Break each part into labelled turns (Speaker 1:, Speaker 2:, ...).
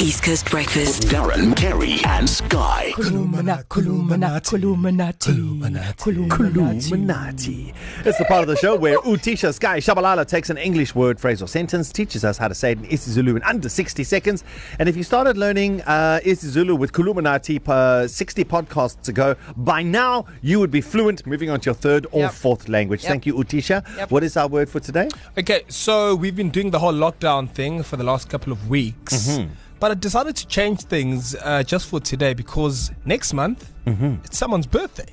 Speaker 1: East Coast Breakfast.
Speaker 2: Darren, Kerry, and Sky.
Speaker 3: Columna, columna, columnati.
Speaker 4: Illuminati. It's the part of the show where Utisha Sky Shabalala takes an English word, phrase, or sentence, teaches us how to say it in isiZulu in under 60 seconds. And if you started learning uh, isiZulu with Kuluminati uh, 60 podcasts ago, by now you would be fluent, moving on to your third or
Speaker 5: Yep.
Speaker 4: fourth language.
Speaker 5: Yep.
Speaker 4: Thank you, Utisha.
Speaker 5: Yep.
Speaker 4: What is our word for today?
Speaker 5: Okay, so we've been doing the whole lockdown thing for the last couple of weeks, mm-hmm. but I decided to change things uh, just for today because next month mm-hmm. it's someone's birthday.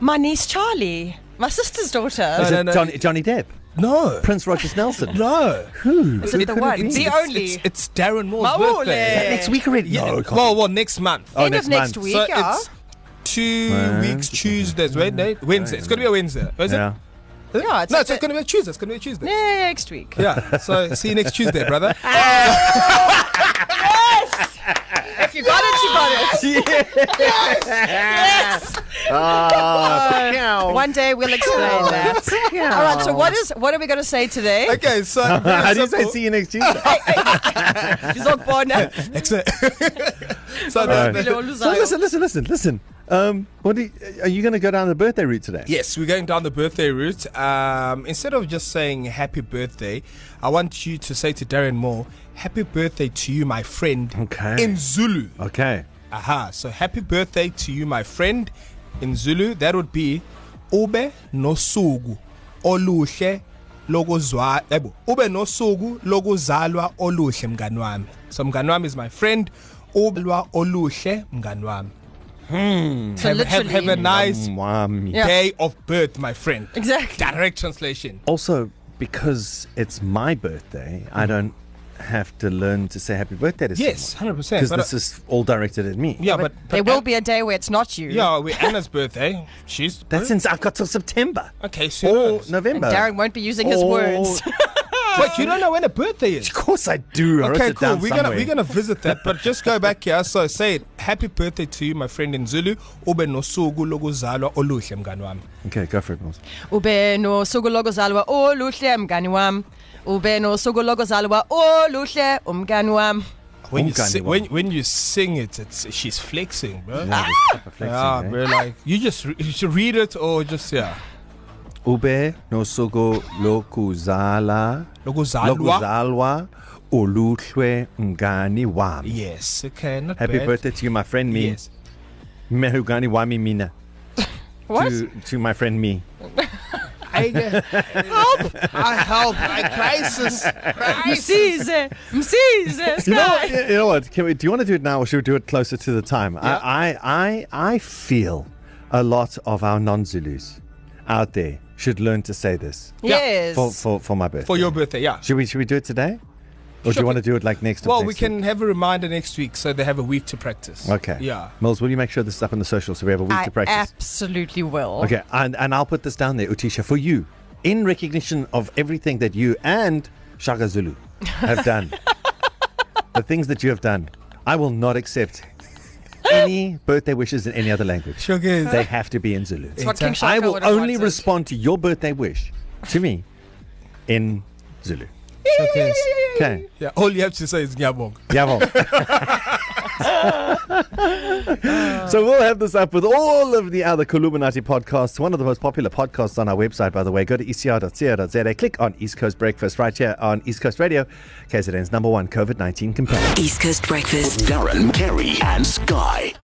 Speaker 6: My niece Charlie, my sister's daughter.
Speaker 4: Is
Speaker 5: Uh, no,
Speaker 4: it
Speaker 5: no.
Speaker 4: Johnny, Johnny Depp?
Speaker 5: No,
Speaker 4: Prince Rogers Nelson?
Speaker 5: no,
Speaker 6: Is it the
Speaker 4: could it
Speaker 6: one?
Speaker 4: be?
Speaker 6: The
Speaker 5: it's,
Speaker 6: only.
Speaker 5: It's, it's Darren Moore's
Speaker 6: Mabule.
Speaker 5: birthday.
Speaker 6: Is that
Speaker 4: Uh, Next week already?
Speaker 5: Yeah,
Speaker 4: No, it can't
Speaker 5: well,
Speaker 4: be.
Speaker 5: well, next month.
Speaker 4: Oh,
Speaker 6: End
Speaker 4: next
Speaker 6: of next
Speaker 4: month.
Speaker 6: week,
Speaker 5: so
Speaker 6: yeah.
Speaker 5: it's two
Speaker 4: Wednesday, Mm.
Speaker 5: weeks, Tuesdays, wait, no, Wednesday. It's going to be a Wednesday. Is
Speaker 4: Yeah.
Speaker 5: it? Is it?
Speaker 6: Yeah, it's
Speaker 5: no,
Speaker 6: like
Speaker 5: it's
Speaker 6: the-
Speaker 5: going to be a Tuesday. It's going to be a Tuesday.
Speaker 6: Next week.
Speaker 5: Yeah, so see you next Tuesday, brother.
Speaker 6: If you got it, you got it.
Speaker 5: Uh,
Speaker 4: Ah,
Speaker 6: One day we'll explain that. All right. So what is what are we going to say today?
Speaker 5: okay, so.
Speaker 4: How do you say see you next Tuesday?
Speaker 6: Zogbona.
Speaker 5: Excellent. so the, the,
Speaker 4: So listen, listen, listen, listen. Um, what do you, are you going to go down the birthday route today?
Speaker 5: Yes, we're going down the birthday route. Um, instead of just saying happy birthday, I want you to say to Darren Moore, happy birthday to you, my friend,
Speaker 4: Okay.
Speaker 5: in Zulu.
Speaker 4: Okay.
Speaker 5: Aha, so happy birthday to you, my friend, in Zulu. That would be Ube nosugu oluhle lokuzwa yebo ube nosuku lokuzalwa oluhle mngani wami so mngani wami is my friend ubelwa oluhle mngani wami
Speaker 6: So
Speaker 5: have, have, have a
Speaker 6: literally.
Speaker 5: nice
Speaker 4: Mwami.
Speaker 6: Yeah.
Speaker 5: day of birth, my friend.
Speaker 6: Exactly.
Speaker 5: Direct translation.
Speaker 4: Also, because it's my birthday, I don't have to learn to say happy birthday to
Speaker 5: Mm. Yes, hundred percent. uh,
Speaker 4: Because this is all directed at me.
Speaker 5: yeah, but, but
Speaker 6: There will be a day where it's not you.
Speaker 5: Yeah, we Anna's birthday. She's
Speaker 4: That's Oh, since I've got till September
Speaker 5: okay. So you
Speaker 4: or
Speaker 5: know.
Speaker 6: And
Speaker 4: November.
Speaker 6: Darren won't be using his
Speaker 5: Oh,
Speaker 4: Or-
Speaker 6: words.
Speaker 5: but you don't know when her birthday is.
Speaker 4: Of course I do. I wrote
Speaker 5: Okay,
Speaker 4: it down
Speaker 5: cool. We're gonna
Speaker 4: somewhere.
Speaker 5: we're gonna visit that, but just go back here. So say it. Happy birthday to you, my friend in Zulu. Ube nosuku lokuzalwa oluhle mngani wami.
Speaker 4: Okay, go for it, Mills.
Speaker 6: Ube no suku lokuzalwa oluhle mngani wami. Ube no suku lokuzalwa oluhle umngani wami.
Speaker 5: When you
Speaker 4: Umngani
Speaker 5: sing,
Speaker 4: wami.
Speaker 5: when, when you sing it, it's she's flexing, bro. Yeah,
Speaker 4: Ah,
Speaker 5: bro. Like you just re- you should read it or just yeah.
Speaker 4: Ube nosugo lokuzala
Speaker 5: Lokuzalwa.
Speaker 4: lokuzalwa uluhlwe mngani wami.
Speaker 5: Yes. Okay. Not
Speaker 4: Happy
Speaker 5: bad.
Speaker 4: birthday to you, my friend me.
Speaker 5: Yes.
Speaker 4: Mehugani Wami Mina.
Speaker 6: What?
Speaker 4: To, to my friend me.
Speaker 5: I help! I help! I crisis!
Speaker 6: Msize, msize.
Speaker 4: You know,
Speaker 6: Sky.
Speaker 4: you know what? Can we, do you want to do it now or should we do it closer to the time?
Speaker 5: Yeah.
Speaker 4: I, I, I, I feel a lot of our non Zulus out there should learn to say this
Speaker 6: Yes.
Speaker 4: for, for, for my birthday.
Speaker 5: For your birthday, yeah.
Speaker 4: Should we, should we do it today? Or do
Speaker 5: Sure.
Speaker 4: you want to do it like next
Speaker 5: Well,
Speaker 4: next
Speaker 5: we can have a reminder next week so they have a week to practice.
Speaker 4: Week? Okay.
Speaker 5: Yeah.
Speaker 4: Mills, will you make sure this is up on the social so we have a week
Speaker 6: I
Speaker 4: to practice?
Speaker 6: absolutely will.
Speaker 4: Okay, and, and I'll put this down there, Utisha, for you, in recognition of everything that you and Shaka Zulu have done, the things that you have done, I will not accept any birthday wishes in any other language.
Speaker 5: Sure, guys.
Speaker 4: They have to be in Zulu.
Speaker 6: what King
Speaker 4: I
Speaker 6: Shaka
Speaker 4: will
Speaker 6: would've
Speaker 4: only
Speaker 6: wanted.
Speaker 4: respond to your birthday wish to me in Zulu.
Speaker 5: Sure, guys.
Speaker 4: Okay.
Speaker 5: Yeah, all you have to say is Nyabong.
Speaker 4: Yavo. so we'll have this up with all of the other Columinati podcasts, one of the most popular podcasts on our website, by the way. Go to E ecr.co.za, click on East Coast Breakfast right here on East Coast Radio, KZN's number one COVID 19 companion.
Speaker 1: East Coast Breakfast.
Speaker 2: Darren, Kerry, and Sky.